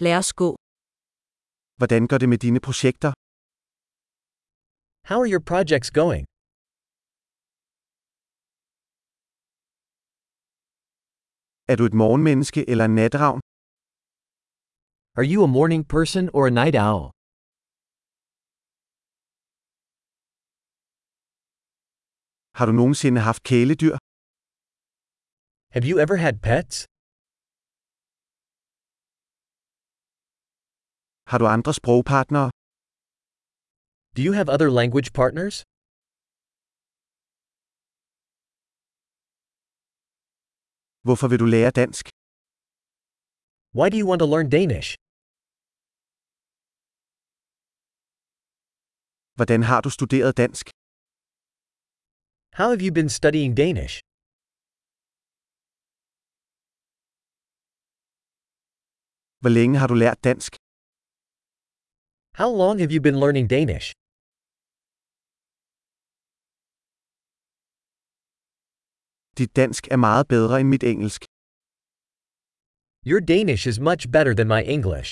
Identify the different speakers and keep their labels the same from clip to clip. Speaker 1: Lad os gå.
Speaker 2: Hvordan går det med dine projekter?
Speaker 3: How are your projects going?
Speaker 2: Er du et morgenmenneske eller en natravn?
Speaker 3: Are you a morning person or a night owl?
Speaker 2: Har du nogensinde haft kæledyr?
Speaker 3: Have you ever had pets?
Speaker 2: Har du andre sprogpartnere?
Speaker 3: Do you have other language partners?
Speaker 2: Hvorfor vil du lære dansk?
Speaker 3: Why do you want to learn Danish?
Speaker 2: Hvordan har du studeret dansk?
Speaker 3: How have you been studying Danish?
Speaker 2: Hvor længe har du lært dansk?
Speaker 3: How long have you been learning Danish?
Speaker 2: Dit dansk er meget bedre end mit engelsk.
Speaker 3: Your Danish is much better than my English.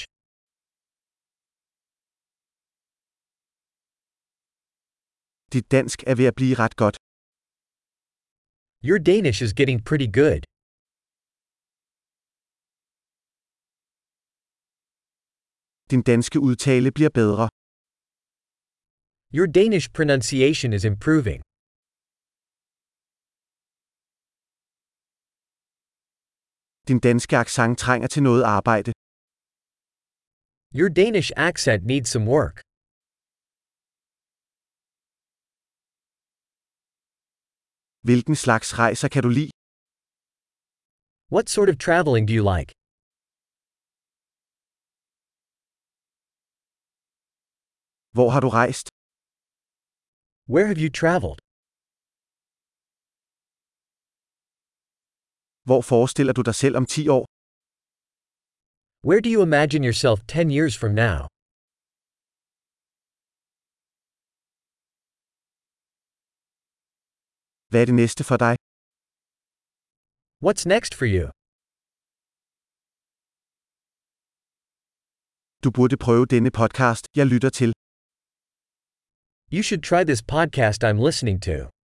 Speaker 2: Dit dansk er ved at blive ret godt.
Speaker 3: Your Danish is getting pretty good.
Speaker 2: Din danske udtale bliver bedre.
Speaker 3: Your Danish pronunciation is improving.
Speaker 2: Din danske accent trænger til noget arbejde.
Speaker 3: Your Danish accent needs some work.
Speaker 2: Hvilken slags rejser kan du lide?
Speaker 3: What sort of traveling do you like?
Speaker 2: Hvor har du rejst?
Speaker 3: Where have you traveled?
Speaker 2: Hvor forestiller du dig selv om 10 år?
Speaker 3: Where do you imagine yourself 10 years from now?
Speaker 2: Hvad er det næste for dig?
Speaker 3: What's next for you?
Speaker 2: Du burde prøve denne podcast, jeg lytter til.
Speaker 3: You should try this podcast I'm listening to.